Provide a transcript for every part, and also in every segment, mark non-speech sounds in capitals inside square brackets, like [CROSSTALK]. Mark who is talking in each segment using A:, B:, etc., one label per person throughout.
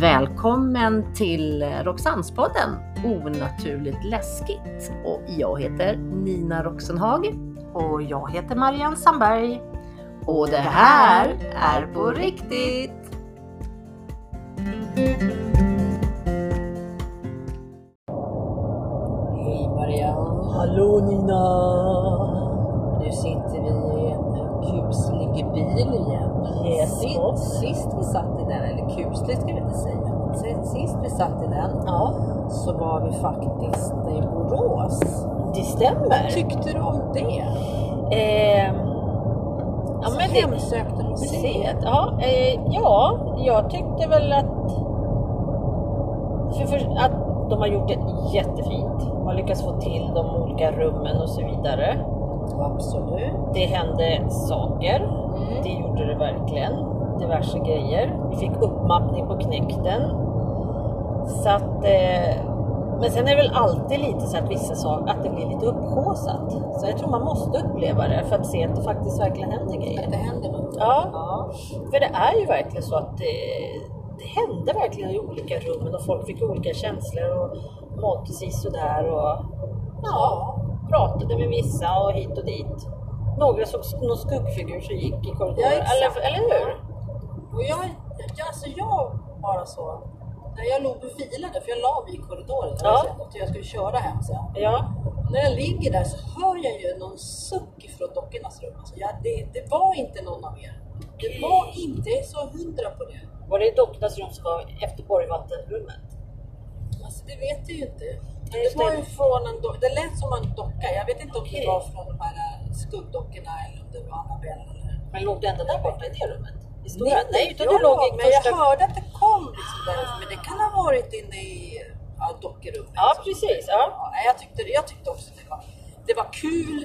A: Välkommen till Roxannespodden Onaturligt läskigt. Och jag heter Nina Roxenhag.
B: Och jag heter Marianne Sandberg.
A: Och det här är på riktigt!
B: Hej Marianne! Hallå Nina! Nu sitter vi i en eh, kuslig bil igen.
A: Yes,
B: sist, sist vi satt i den, eller kuslig ska vi inte säga. Sen Sist vi satt i den
A: Ja,
B: så var vi faktiskt i Borås.
A: det
B: Vad
A: stämmer.
B: tyckte du om det?
A: Eh,
B: Ja,
A: men det-
B: hemsökte museet.
A: museet, ja, eh, ja, jag tyckte väl att, för, för, att de har gjort det jättefint. De har lyckats få till de olika rummen och så vidare.
B: Absolut.
A: Det hände saker. Det gjorde det verkligen. Diverse grejer. Vi fick uppmappning på knäkten. Så att, eh, men sen är det väl alltid lite så att vissa saker, att det blir lite upphaussat. Så jag tror man måste uppleva det för att se att det faktiskt verkligen händer
B: Att
A: grejer.
B: det händer något.
A: Ja.
B: ja.
A: För det är ju verkligen så att det, det hände verkligen i olika rummen och folk fick olika känslor och mådde precis sådär och ja, pratade med vissa och hit och dit. Några såg sk- någon skuggfigur som gick i korridoren,
B: Ja, exakt.
A: eller, eller hur?
B: Och jag, jag, alltså jag bara så, när jag låg och filade, för jag la mig i korridoren när
A: Ja.
B: jag kände att jag skulle köra hem sen.
A: Ja,
B: När jag ligger där så hör jag ju någon suck ifrån dockornas rum. Alltså, ja, det, det var inte någon av er. Det var inte, jag är så hundra på det.
A: var det i dockornas rum som var efter Borgvattenrummet?
B: Alltså, det vet jag ju inte.
A: Ja, just
B: Det var
A: det.
B: ju från en docka, det lät som en docka. Jag vet inte om
A: Okej.
B: det var från de här skuggdockorna eller om det var Annabelle eller...
A: Men låg du ändå där borta i det rummet? I stora?
B: Nej,
A: Nej, utan du
B: jag
A: låg
B: låg,
A: i
B: men
A: första...
B: jag hörde att det kom liksom därifrån. Men det kan ha varit inne i ja, dockrummet.
A: Ja,
B: liksom.
A: precis. Ja.
B: Ja, nej, jag, tyckte, jag tyckte också att det var, det var kul.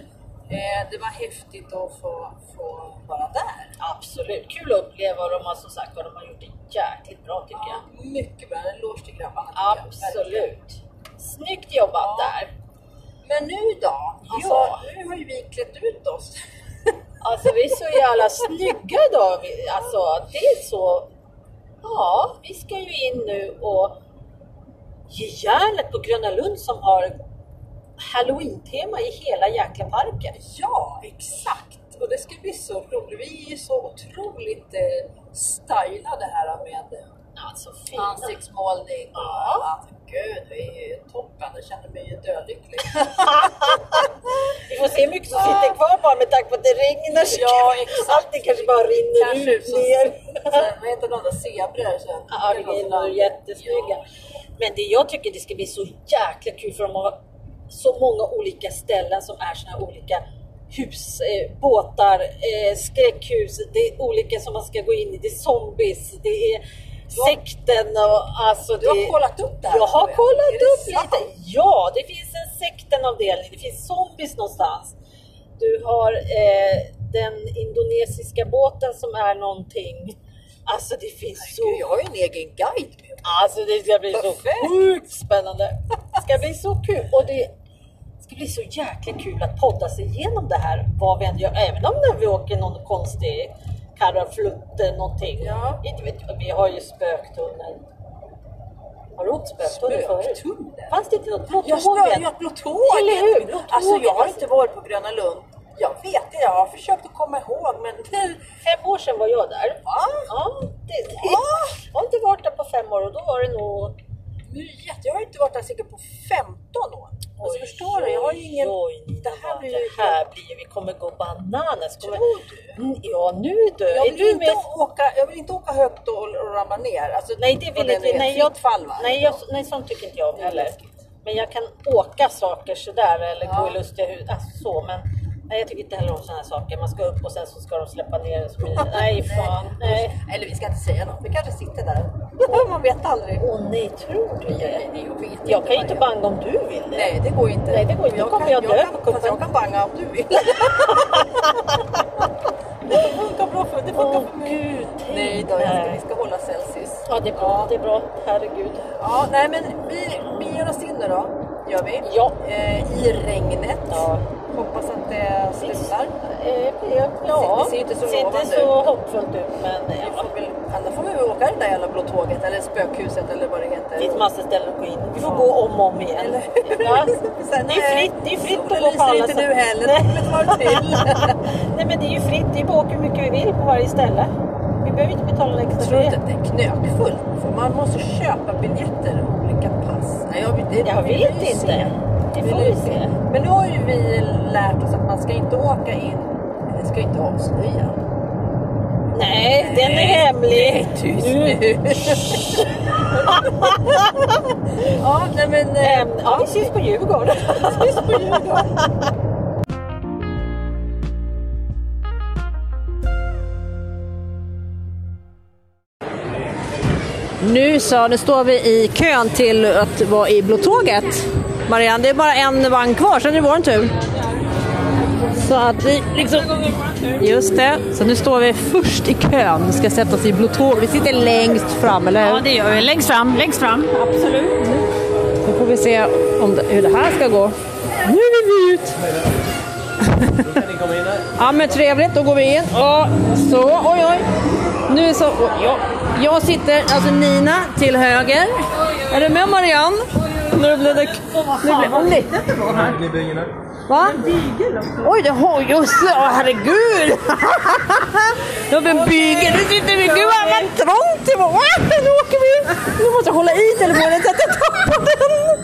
B: Eh, det var häftigt att få, få vara där.
A: Absolut, kul att uppleva och de har som sagt vad de har gjort det jäkligt bra tycker jag.
B: Mycket bra. En eloge till grabbarna. tycker jag, verkligen.
A: Absolut. Snyggt jobbat
B: Ja.
A: där.
B: Men nu då? Alltså,
A: Ja.
B: Nu har ju vi klätt ut oss.
A: Alltså vi är så jävla snygga idag. Vi- Alltså det är så... Ja, vi ska ju in nu och ge järnet på Gröna Lund som har halloween-tema i hela jäkla parken.
B: ja, exakt. Och det ska bli så roligt. Vi är ju så otroligt eh, stylade här med eh,
A: Alltså fina.
B: ansiktsmålning. och
A: Ja.
B: Alltså, gud, vi är ju toppen. Jag känner mig ju dödlycklig.
A: Vi får se hur mycket som sitter kvar bara med tanke på att det regnar. så
B: Ja,
A: kan-
B: exakt.
A: Allting kanske bara rinner
B: Kanske
A: ut
B: så-
A: ner.
B: så- Vad heter de där zebror? så-
A: Ja, det är nog jättesnygga. Men det jag tycker det ska bli så jäkla kul för de har så många olika ställen som är såna här olika hus, eh, båtar, eh, skräckhus, det är olika som man ska gå in i, det är zombies, det är
B: har-
A: sekten och alltså
B: Du har
A: det-
B: kollat upp det här?
A: jag har
B: Robert.
A: kollat
B: Är det
A: upp
B: sant?
A: lite. Ja, det finns en sektenavdelning. Det finns zombies någonstans. Du har eh, den indonesiska båten som är någonting. Alltså det finns så...
B: Gud, jag har ju en egen guide med mig.
A: Alltså det ska bli så
B: Perfekt.
A: sjukt spännande. Det ska bli så kul. Och det ska bli så jäkla kul att podda sig igenom det här. Vad vi än gör. Även om när vi åker någon konstig karaflutte någonting.
B: Ja.
A: Inte vet jag. Vi har ju spöktunneln. Har du åkt spöktunnel förut?
B: Spöktunneln?
A: Fanns det inte något? Blå
B: Jag
A: tåget?
B: stör ju att Blå tåget.
A: Eller hur? Blå
B: Alltså
A: tåget,
B: jag har
A: alltså.
B: inte varit på Gröna Lund. Jag vet det, jag har försökt att komma ihåg men det...
A: Fem år sedan var jag där.
B: Va?
A: Ja, det,
B: Va?
A: Jag har inte varit där på fem år och då var det nog...
B: Nu är det jätte- Jag har inte varit där säkert på 15 år. Alltså
A: Oj,
B: förstår du? Jag har ju ingen...
A: oj, Nina,
B: Det här
A: vad
B: blir
A: det
B: ju...
A: här blir ju... Vi kommer gå bananas. Kommer...
B: Tror du?
A: Mm, Ja, nu du.
B: Jag
A: Är
B: vill,
A: du
B: inte
A: med?
B: åka, jag vill inte åka högt och, och ramla ner. Alltså,
A: Nej, det
B: på
A: vill inte
B: den
A: nej,
B: är
A: jag,
B: fritt fall va?
A: nej, jag, nej, sånt tycker inte jag om
B: Det är
A: heller.
B: läskigt.
A: Men jag kan åka saker sådär eller gå
B: Ja.
A: i lustiga hus. Alltså, så, men nej, jag tycker inte heller om sådana här saker. Man ska upp och sen så ska de släppa ner en. som
B: [LAUGHS]
A: i- Nej, fan. Nej.
B: Eller vi ska inte säga något, vi kanske sitter där. [LAUGHS] Man vet aldrig.
A: Åh nej, tror du det?
B: Nej, det jag vet
A: Jag kan ju
B: vad
A: inte
B: jag-
A: banga om du vill det.
B: Nej, det går inte.
A: Nej, det går inte. Då kommer jag dö
B: kan,
A: på kuppen.
B: fast Jag kan banga om du vill. [LAUGHS] det funkar bra för, det funkar
A: Åh
B: för mig.
A: gud, tänk
B: Nej då, jag ska, vi
A: där.
B: ska hålla Celsius.
A: Ja, det är bra.
B: Ja.
A: Det är bra. Herregud.
B: Ja, nej men vi, vi ger oss in nu då. Gör vi.
A: Ja.
B: Eh, I regnet.
A: Ja.
B: Hoppas att det slutar.
A: Eh, Ja, ja.
B: Det ser ju inte så
A: ser inte
B: lovande
A: så hoppfullt ut, men
B: Vi
A: ja.
B: får väl, annars får vi väl åka det där jävla blå tåget eller
C: spökhuset eller vad det heter.
A: Ditt massa ställen att gå in. Du får
C: Ja.
A: gå om och om igen.
C: Eller-
A: Ja.
C: Sen,
A: Det är
C: eh,
A: fritt, det är fritt att
C: solen
A: gå på alla
C: lyser inte nu heller. Det var till.
B: [LAUGHS]
A: Nej men det är ju fritt, det är bara att åka hur mycket vi vill på varje ställe. Vi behöver inte betala en extra
C: Jag tror inte att
A: biljett.
C: Alltså, det är knökfullt. För man måste köpa biljetter och olika pass. Nej, jag, det,
A: Jag
C: vill
A: vet
C: ju se.
A: inte. Det
C: Vill
A: får
C: ju
A: vi se.
C: Men nu har ju vi lärt oss att man ska inte åka in, det ska inte avslöja.
A: Nej, den är
C: Nej,
A: hemlig.
C: det är tyst nu.
A: Shh.
C: [LAUGHS] Ja, nej men... eh,
A: Ehm, ja, vi syns på Djurgården.
C: Tyst på Djurgården.
B: Nu så, nu står vi i kön till att vara i Blåtåget. Marianne, det är bara en vagn kvar, sen är det vår tur. Så att vi liksom... Just det, så nu står vi först i kön. Vi ska sätta oss i Blåtåget. Vi sitter längst fram, eller hur?
D: Ja, det gör vi. Längst fram, längst fram.
B: Nu får vi se om det, hur det här ska gå. Nu vill vi ut! ja men trevligt, då går vi in. Och så, oj oj. Nu är så, oj, ja. Jag sitter, alltså Nina till höger. Är du med Marianne? Nu blev det... Nu blev, vad litet det var här. Va? Oj, det har ju... Åh herregud! [LAUGHS] Nu har vi en bygel. Nu sitter vi... Gud vad vad trångt det var. Ah, Nu åker vi in. Nu måste jag hålla i telefonen så att jag tappar den.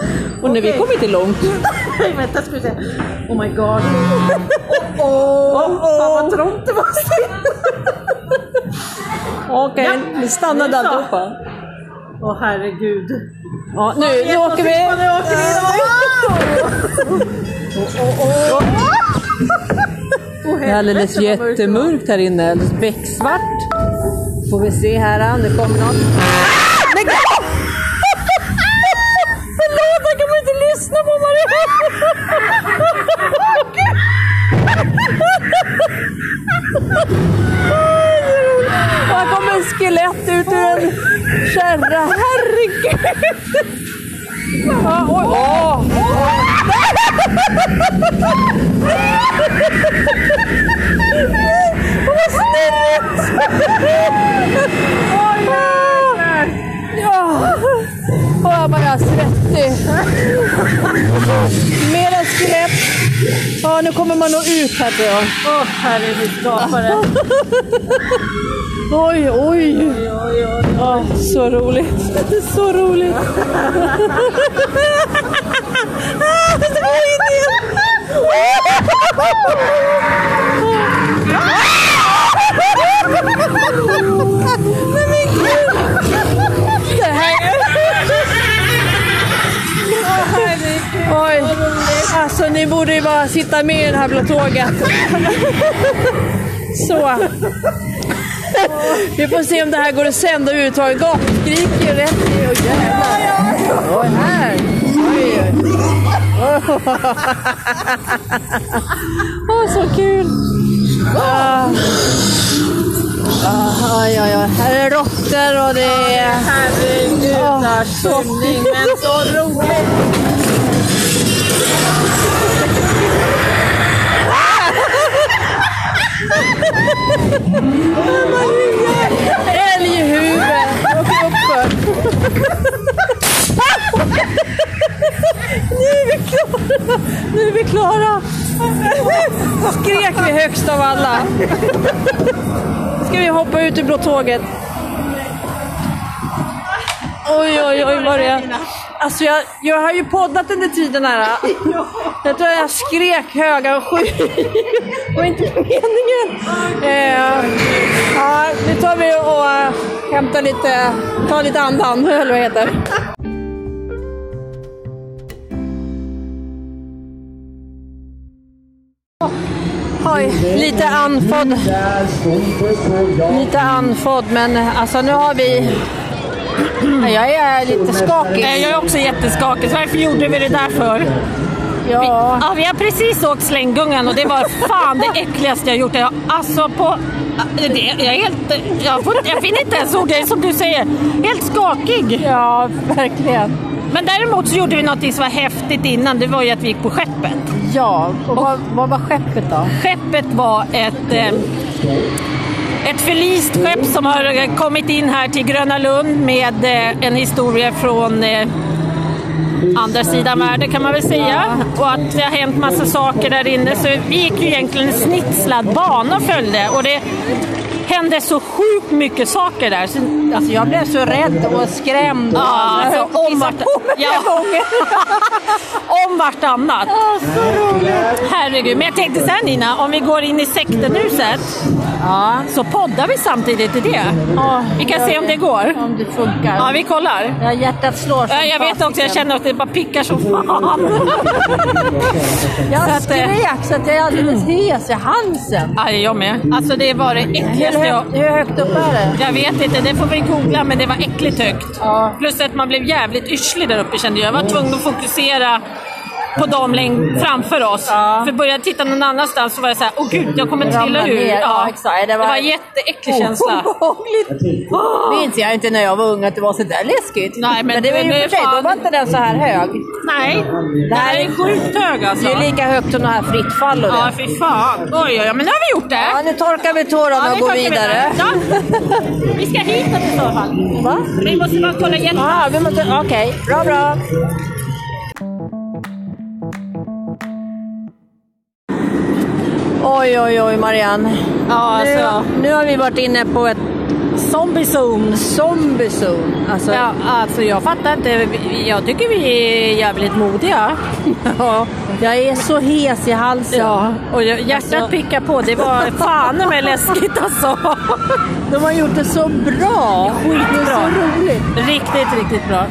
B: Och nu, vi kom inte långt.
D: Vänta, ska vi se. Oh my
A: [LAUGHS]
D: god.
A: oh,
B: Åh, vad trångt
A: [LAUGHS]
B: det var. Okej, vi stannar där allihopa.
D: Åh herregud.
B: Ja, nu, nu åker vi.
D: Nu åker vi.
B: Det är alldeles jättemörkt här inne. Alldeles becksvart. Får vi se här, nu kommer någon. Men gud! Förlåt, jag kan väl inte lyssna på Marianne! Här kommer en skelett ut ur en kärra. Herregud! Ja, oj, åh. Vad snällt! Oj, Ja. Åh, jag bara svettig. Mer än skelett. Ja, nu kommer man nog ut här tror jag.
D: Åh herregud, skapare.
B: Oj, oj. Ja, så roligt. Det är så roligt. Det var idén. Nej men gud. Det här Oj, alltså ni borde ju bara sitta med i det här blå tåget. [LAUGHS] Så. Vi får se om det här går att sända överhuvudtaget. Gapskrik är rätt i. Åh jävlar. Oj, här. Oj, oj. [LAUGHS] Åh, så kul. Ah. Ah, oj, oj, oj. Här är råttor och det är... Ah, Åh, så fint. Älg i huvudet. Åker uppför. Nu är vi klara! Nu är vi klara! Skrek vi högst av alla. Ska vi hoppa ut ur blå tåget? Oj, oj, oj vad det är. Alltså jag, jag har ju poddat under tiden här. Jag tror jag skrek höga och sjukt. Det var inte meningen. Eh, Ja, nu tar vi och eh, hämtar lite, tar lite andan, [LAUGHS] eller vad det heter. Oj, lite andfådd. Lite andfådd, men alltså nu har vi... Jag är lite skakig.
D: Nej, Jag är också jätteskakig. Så Varför gjorde vi det där för?
B: Ja.
D: Ja, vi har precis åkt slänggungan och det var fan det äckligaste jag gjort. Jag, alltså på... Det, jag är helt... Jag, får, jag finner inte ens ord. Jag är som du säger, helt skakig.
B: ja, verkligen.
D: Men däremot så gjorde vi något som var häftigt innan. Det var ju att vi gick på skeppet.
B: Ja, och vad, vad var skeppet då?
D: ehm, Skeppet var ett... Eh,
E: ett förlist skepp som har eh, kommit in här till Gröna Lund med eh, en historia från eh, andra sidan världen kan man väl säga. Och att det har hänt massa saker där inne. Så vi gick ju egentligen en snitslad bana och följde. Och det hände så sjukt mycket saker där. Så,
B: Alltså jag blev så rädd och skrämd.
E: Ja,
B: alltså,
E: alltså, om vart-
B: [LAUGHS]
E: Ja. om vartannat. Herregud. Men jag tänkte så här Nina, om vi går in i sektenhuset
B: Ja.
E: så poddar vi samtidigt i det. Vi kan se om det går.
B: Om det funkar.
E: Ja, vi kollar.
B: Ja, hjärtat slår som
E: Ja, jag vet också, jag
B: fasiken.
E: känner att det bara pickar som fan.
B: Jag
E: att, eh,
B: skrek så att jag är alldeles hes i halsen.
E: Ja, jag med. Alltså det var det äckligaste
B: Hur,
E: jag...
B: högt- hur högt upp är det?
E: Jag vet inte, det får vi googla, men det var äckligt högt.
B: Ja.
E: Plus att man blev jävligt yrslig där uppe kände jag. Jag var tvungen att fokusera på dem längst framför oss. För började jag titta någon annanstans så var jag så här, åh gud, jag kommer trilla
B: Ramla
E: ur.
B: ner. Ja, exakt. Det
E: Det
B: var-
E: var en jätteäcklig
B: [LAUGHS]
E: känsla.
B: Obehagligt. Minns jag inte när jag var ung att det var så där läskigt.
E: Ah. Nej, men
B: det var
E: nu
B: ju för sig,
E: fan-
B: då var inte den så här hög.
E: Nej, det här är sjukt hög alltså.
B: Det är ju lika högt som det här Fritt fall och
E: Ja,
B: det.
E: fy fan. Oj, oj, oj, men nu har vi gjort
B: Ja,
E: det.
B: nu torkar vi tårarna och
E: nu
B: går
E: tar vi
B: vidare.
E: Ja. Vi ska hitåt i så fall.
B: Va?
E: Vi måste bara kolla igen.
B: Ja, vi måste... Okej, bra bra. Oj, oj, oj Marianne.
E: Ja, alltså.
B: Nu, nu har vi varit inne på ett zombie zone. Zombie zone. Alltså,
E: Ja, alltså jag fattar inte. Jag tycker vi är jävligt modiga.
B: ja. Jag är så hes i halsen.
E: Ja, och jag- hjärtat
B: Alltså-
E: pickar på. Det var fan med läskigt alltså.
B: [LAUGHS] De har gjort det så bra. Det är så roligt.
E: Riktigt, riktigt bra.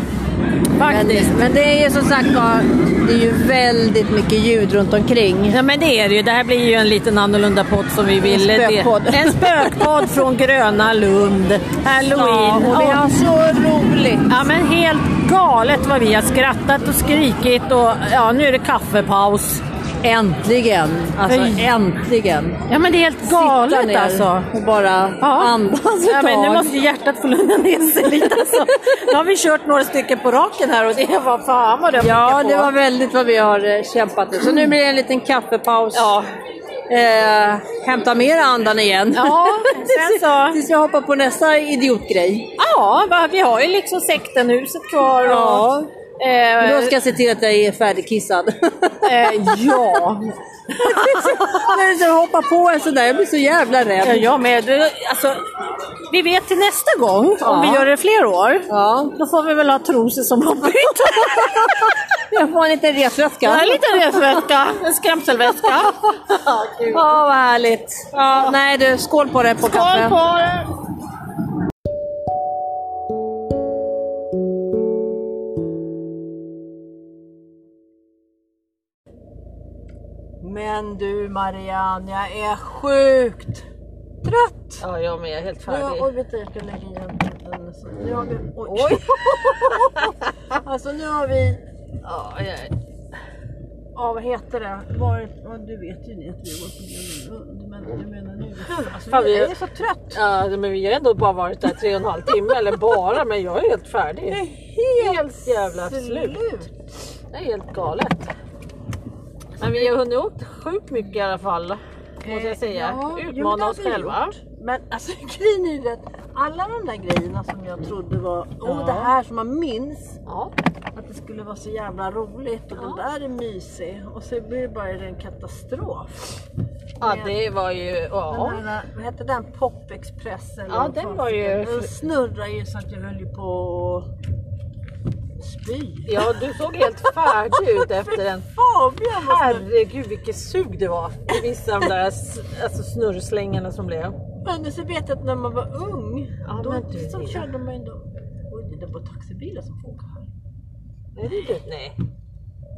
B: Men
E: Faktiskt.
B: det, men det är ju som sagt var, det är ju väldigt mycket ljud runt omkring.
E: Ja men det är det ju. Det här blir ju en liten annorlunda podd som vi ville. Det-
B: spökpodd.
E: En spökpodd från Gröna Lund.
B: Ja, och
E: Halloween.
B: vi har så roligt.
E: Ja men helt galet vad vi har skrattat och skrikit och ja nu är det kaffepaus.
B: Äntligen! Alltså
E: Oj.
B: äntligen!
E: Ja men det är helt
B: Sitta
E: galet
B: ner
E: alltså.
B: och bara andas ett
E: ja, men Nu
B: tag.
E: måste hjärtat få lugna ner sig lite. Alltså. Nu har vi kört några stycken på raken här och det var fan vad det
B: Ja,
E: på.
B: det var väldigt vad vi har eh, kämpat nu. Så nu blir det en liten kaffepaus.
E: Ja.
B: Eh, hämta mer andan igen.
E: Ja, sen
B: [LAUGHS]
E: så-
B: Tills jag hoppar på nästa idiotgrej.
E: Ja, va, vi har ju liksom sektenhuset kvar. Och,
B: Ja.
E: Eh,
B: Då ska jag se till att jag är färdigkissad. [LAUGHS]
E: eh, ja.
B: När du hoppar på en sån där, jag blir så jävla
E: Ja,
B: rädd.
E: Jag med. Du, Alltså, vi vet till nästa gång, om vi gör det fler år,
B: Ja.
E: då får vi väl ha trosor som har bytt.
B: [LAUGHS] Jag får en liten resväska.
E: En liten resväska, en skrämselväska.
B: Ja, vad härligt.
E: Ja.
B: Nej du, skål på det på kaffe.
E: Skål på er!
B: Men du Marianne, jag är sjukt trött.
A: Ja, jag med. Helt
B: Nu,
A: färdig.
B: oj, vänta, jag ska lägga igen den. så Nu har vi, oj. [LAUGHS] alltså nu har vi,
A: Ja, jag...
B: ja vad heter det? Var, ja, du vet ju ni att vi har varit på Gröna Lund, men jag menar nu. Alltså,
E: Fan, vi-
B: jag är så trött.
E: Ja, men vi har ändå bara varit där tre och en halv timme, eller bara, men jag är helt
B: Jag är
E: färdig.
B: helt,
E: Helt jävla slut.
B: slut.
E: Det är helt galet. Men vi har hunnit åkt sjukt mycket i alla fall, måste jag säga.
B: Eh, ja, jo, men det
E: Utmana
B: har
E: oss
B: vi
E: själva.
B: Men alltså [LAUGHS] grejen är ju att alla de där grejerna som jag trodde var, åh det här som man minns.
E: Ja.
B: att det skulle vara så jävla roligt och den där är mysig och så blir det bara en katastrof.
E: ja, det var ju... Ja.
B: Den här, vad hette den? Popexpress eller
E: Ja,
B: vad
E: den
B: fan
E: var ju-
B: heter Den Den snurrade ju så att jag höll ju på att spy.
E: ja, du såg helt färdig
B: [LAUGHS]
E: ut efter den.
B: Fabian var snurrig.
E: Herregud vilket sug det var i vissa av de där s- alltså, snurrslängarna som blev.
B: Men så vet jag att när man var ung,
E: Ja,
B: då
E: men du,
B: så
E: Lina.
B: körde man ju ändå... Oj, det var taxibilar som får åka här.
E: Nej, det, är du- nej.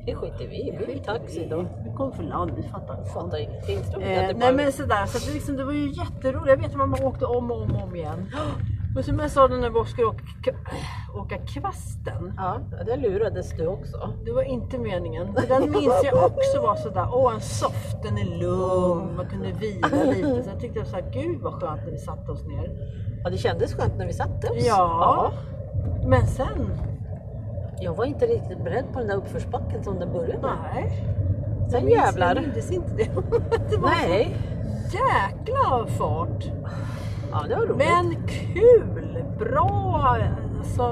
E: det skiter vi i. Vi är taxi då.
B: Vi kom för land, vi fattar.
E: Fattar ingenting. Tror jag.
B: Eh,
E: Det
B: nej
E: bara-
B: men sådär, så att det, liksom, det var ju jätteroligt. Jag vet att mamma åkte om och om, och om igen. Och som jag sa när vi skulle åka, åka kvasten.
E: Ja, där lurades du också.
B: Det var inte meningen. För Den minns jag också var sådär, åh en soft, den är lugn, man kunde vila lite. Så jag tyckte jag såhär, gud vad skönt när vi satte oss ner.
E: Ja, det kändes skönt när vi satte oss.
B: Ja. Men sen,
E: Ja. Jag var inte riktigt beredd på den där uppförsbacken som den började med.
B: nej.
E: Sen
B: Jag [LAUGHS]
E: jävlar.
B: mindes inte det. Det var
E: Nej.
B: jäkla fart.
A: Ja, det var roligt.
B: Men kul! Bra alltså,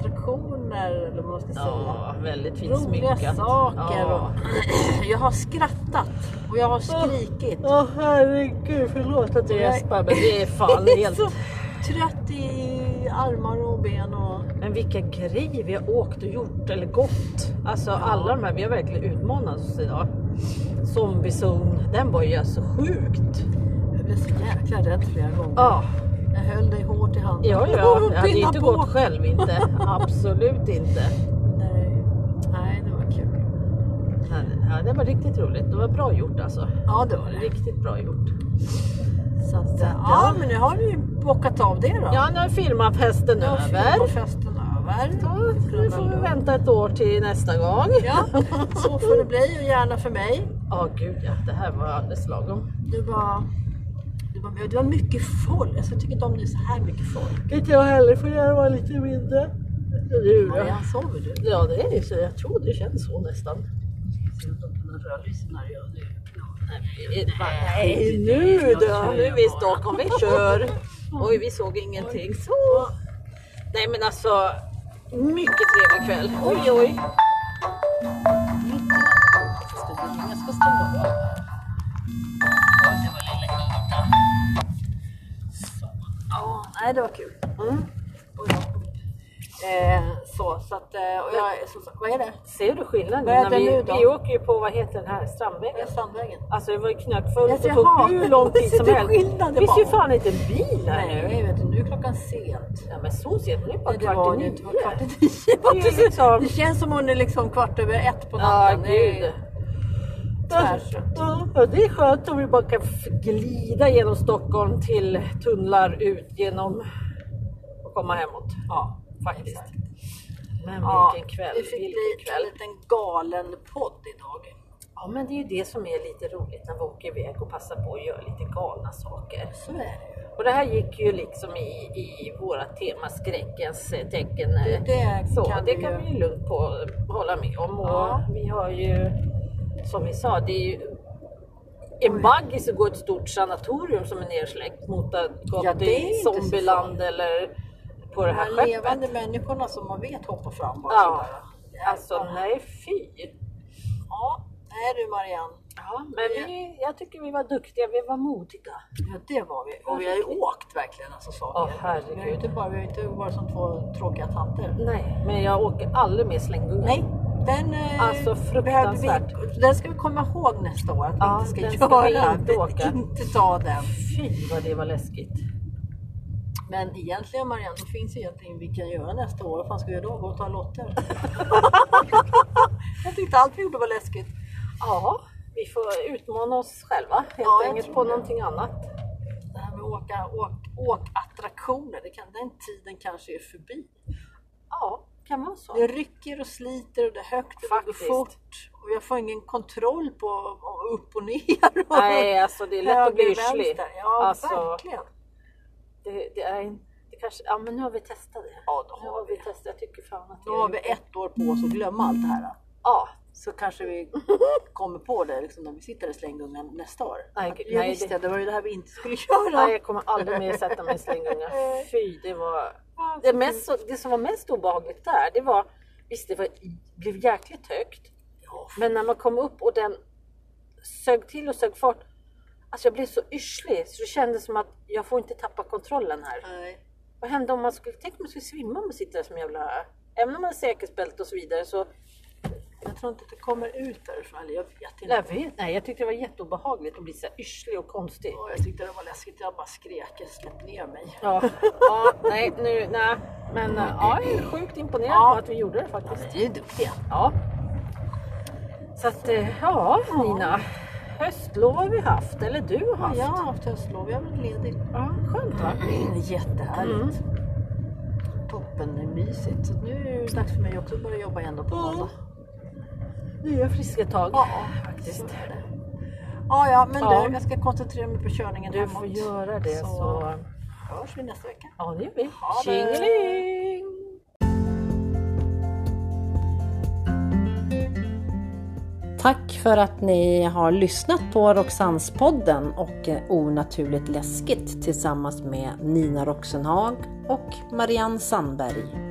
B: attraktioner eller vad man ska säga.
A: ja, väldigt fint
B: Roliga
A: smyckat.
B: saker.
A: Ja.
B: Och [CLEARS THROAT] jag har skrattat och jag har skrikit.
A: Åh herregud, förlåt att jag gäspar men det
B: [LAUGHS]
A: är fan
B: Jag är
A: helt...
B: så trött i armar och ben och...
A: Men vilken grej vi har åkt och gjort eller gått. Alltså alla de här, vi har verkligen utmanat oss idag. Zombiezon, den var ju alltså sjukt.
B: Jag blev så jäkla rädd flera gånger.
A: Ja,
B: Jag höll dig hårt i handen.
A: ja,
B: [LAUGHS]
A: ja.
B: Och
A: Jag hade ju
B: pilla
A: inte
B: på.
A: gått själv inte.
B: [LAUGHS]
A: Absolut inte.
B: Nej. Nej, det var kul.
A: Men, Ja, det var riktigt roligt. Det var bra gjort alltså.
B: Ja, det var det.
A: Riktigt bra gjort.
B: Så att, ja, men nu har vi ju bockat av det då.
A: Ja, nu är firmafesten
B: Nu är
A: över.
B: festen över.
A: Ja, nu får vi vänta ett år till nästa gång. [LAUGHS]
B: Ja, så får det bli och gärna för mig.
A: Ja, gud ja. Det här var alldeles lagom.
B: Det var, det var, det var mycket folk. Alltså, jag tycker inte om det är så här mycket folk.
A: Inte jag heller, för jag var lite mindre. Du, ja.
B: Marianne, sover du?
A: ja, det är ju så. Jag tror det känns så nästan. Nej, nu då! Nu är vi i Stockholm, vi kör! Oj, vi såg ingenting. Så. Nej men alltså, mycket trevlig kväll. Oj, oj.
B: Jag ska stå upp. Ja, nej, det var kul.
A: Mm.
B: Och jag- Eh, så, så att, eh, och jag, så, så, vad är det?
A: Ser du skillnaden?
B: Vad är
A: När
B: det
A: vi,
B: nu då?
A: vi åker ju på, vad heter den här,
B: Vad är
A: Strandvägen?
B: Strandvägen?
A: Alltså det var ju knökfullt, [LAUGHS]
B: Alltså,
A: det tog
B: jaha.
A: hur lång tid
B: Ser
A: som
B: du
A: helst.
B: skillnaden
A: Det finns ju
B: bara?
A: fan inte en bil här nu.
B: Nej, vet du, nu är klockan sent.
A: Ja, men så sent, nu är det bara
B: Nej, det
A: kvart
B: var
A: i
B: det
A: nio.
B: inte. Det var kvart i tio.
A: Det är ju liksom-
B: Det känns som hon är liksom kvart över ett på
A: Ja,
B: natten. Det
A: gud.
B: är tvärtrött.
A: Ja, ja, det är skönt om vi bara kan f- glida genom Stockholm till tunnlar ut genom och komma hemåt.
B: Ja,
A: Faktiskt. Men
B: Ja,
A: vilken kväll,
B: Det fick
A: vilken
B: bli en
A: kväll.
B: liten galen podd idag.
A: Ja men det är ju det som är lite roligt när vi åker iväg och passar på att göra lite galna saker.
B: Så är det ju.
A: Och det här gick ju liksom i, i våra tema skräckens eh, tecken. eh,
B: Det
A: Så
B: kan
A: det
B: vi
A: kan
B: ju.
A: vi ju lugnt på, hålla med om. Och
B: Ja.
A: Vi har ju, som vi sa, det är ju en baggy så går ett stort sanatorium som är nersläckt mot att gå
B: Ja,
A: till
B: det är inte så
A: Zombieland eller på det
B: De
A: här
B: här
A: skeppet.
B: levande människorna som man vet hoppar fram och
A: Ja.
B: sådär. Det är
A: Alltså
B: bara-
A: nej fy!
B: Ja, nej du Marianne.
A: Ja, men vi, jag tycker vi var duktiga, vi var modiga.
B: Ja, det var vi. Och vi har ju åkt verkligen alltså saker.
A: Åh, herregud.
B: Vi har ju inte bara, vi har ju inte varit som två tråkiga tanter.
A: Nej, men jag åker aldrig med slänggunga.
B: Nej, den, eh,
A: Alltså,
B: behövde
A: fruktansvärt.
B: Vi, den ska vi komma ihåg nästa år att vi
A: Ja,
B: inte
A: den
B: ska
A: ska vi
B: göra.
A: inte åka.
B: inte ta den.
A: Fy vad det var läskigt.
B: Men egentligen Marianne, det finns ju egentligen vi kan göra nästa år. Vad fan ska vi göra då? Gå och ta lotter? [LAUGHS] jag tyckte allt vi gjorde var läskigt.
A: Ja, vi får utmana oss själva helt
B: Ja, jag
A: enkelt
B: tror
A: på
B: det.
A: någonting annat.
B: Det här med åka, åk, åkattraktioner, det kan, den tiden kanske är förbi.
A: Ja, kan vara så.
B: Det rycker och sliter och det är högt och
A: Faktiskt.
B: det går fort. Och jag får ingen kontroll på och upp och ner. Och
A: Nej, alltså det är lätt att bli
B: höger,
A: yrslig.
B: vänster. Ja,
A: Alltså,
B: verkligen.
A: Det, det är en- det kanske, ja men nu har vi testat det.
B: Ja, då
A: Nu
B: har
A: har
B: vi.
A: vi testat, jag tycker fan att
B: Då
A: jag
B: har
A: gjort
B: vi
A: det.
B: ett år på oss att glömma allt det här.
A: Ja,
B: Så kanske [LAUGHS] vi kommer på det liksom, när vi sitter i slänggungan nästa år.
A: Nej,
B: Att,
A: gud,
B: jag
A: nej,
B: visste
A: det-
B: det... det var ju det här vi inte skulle [LAUGHS] göra.
A: nej, jag kommer aldrig mer sätta mig i
B: [LAUGHS]
A: slänggunga. Fy, det var... Det, mest, så- det som var mest obehagligt där, det var... Visst, det var, blev jäkligt högt.
B: Ja,
A: Men när man kom upp och den sög till och sög fart. Alltså jag blev så yrslig så det kändes som att jag får inte tappa kontrollen här.
B: nej.
A: Vad hände om man skulle, tänk om man skulle svimma om man sitter där som jävla... Även om man har säkerhetsbälte och så vidare så...
B: Jag tror inte att det kommer ut därifrån. Eller jag vet inte.
A: Jag vet, nej, jag tyckte det var jätteobehagligt att bli så här yrslig och konstig.
B: Åh, jag tyckte det var läskigt. Jag bara skrek. Släpp ner mig.
A: Ja, ja nej, nu, nej. Men eh, ja, jag är sjukt imponerad
B: Ja.
A: på att vi gjorde det faktiskt.
B: Vi är ju duktiga.
A: Ja. Så att, eh, ja Nina. Höstlov har vi haft, eller du har haft.
B: Jag har haft höstlov. Jag har varit ledig.
A: Ja, skönt va? Mm.
B: Det är jättehärligt. Toppen, det är mysigt. Så att nu är det dags för mig också att börja jobba igen då på måndag.
A: Nya friska tag. faktiskt.
B: så är det. Ja, ja, men
A: Ja.
B: du, jag ska koncentrera mig på körningen
A: Du
B: hemåt.
A: får göra det så...
B: så hörs vi nästa vecka.
A: Ja, det gör vi.
B: Ha det.
A: Tjingeling!
B: Tack för att ni har lyssnat på Roxannespodden och Onaturligt läskigt tillsammans med Nina Roxenhag och Marianne Sandberg.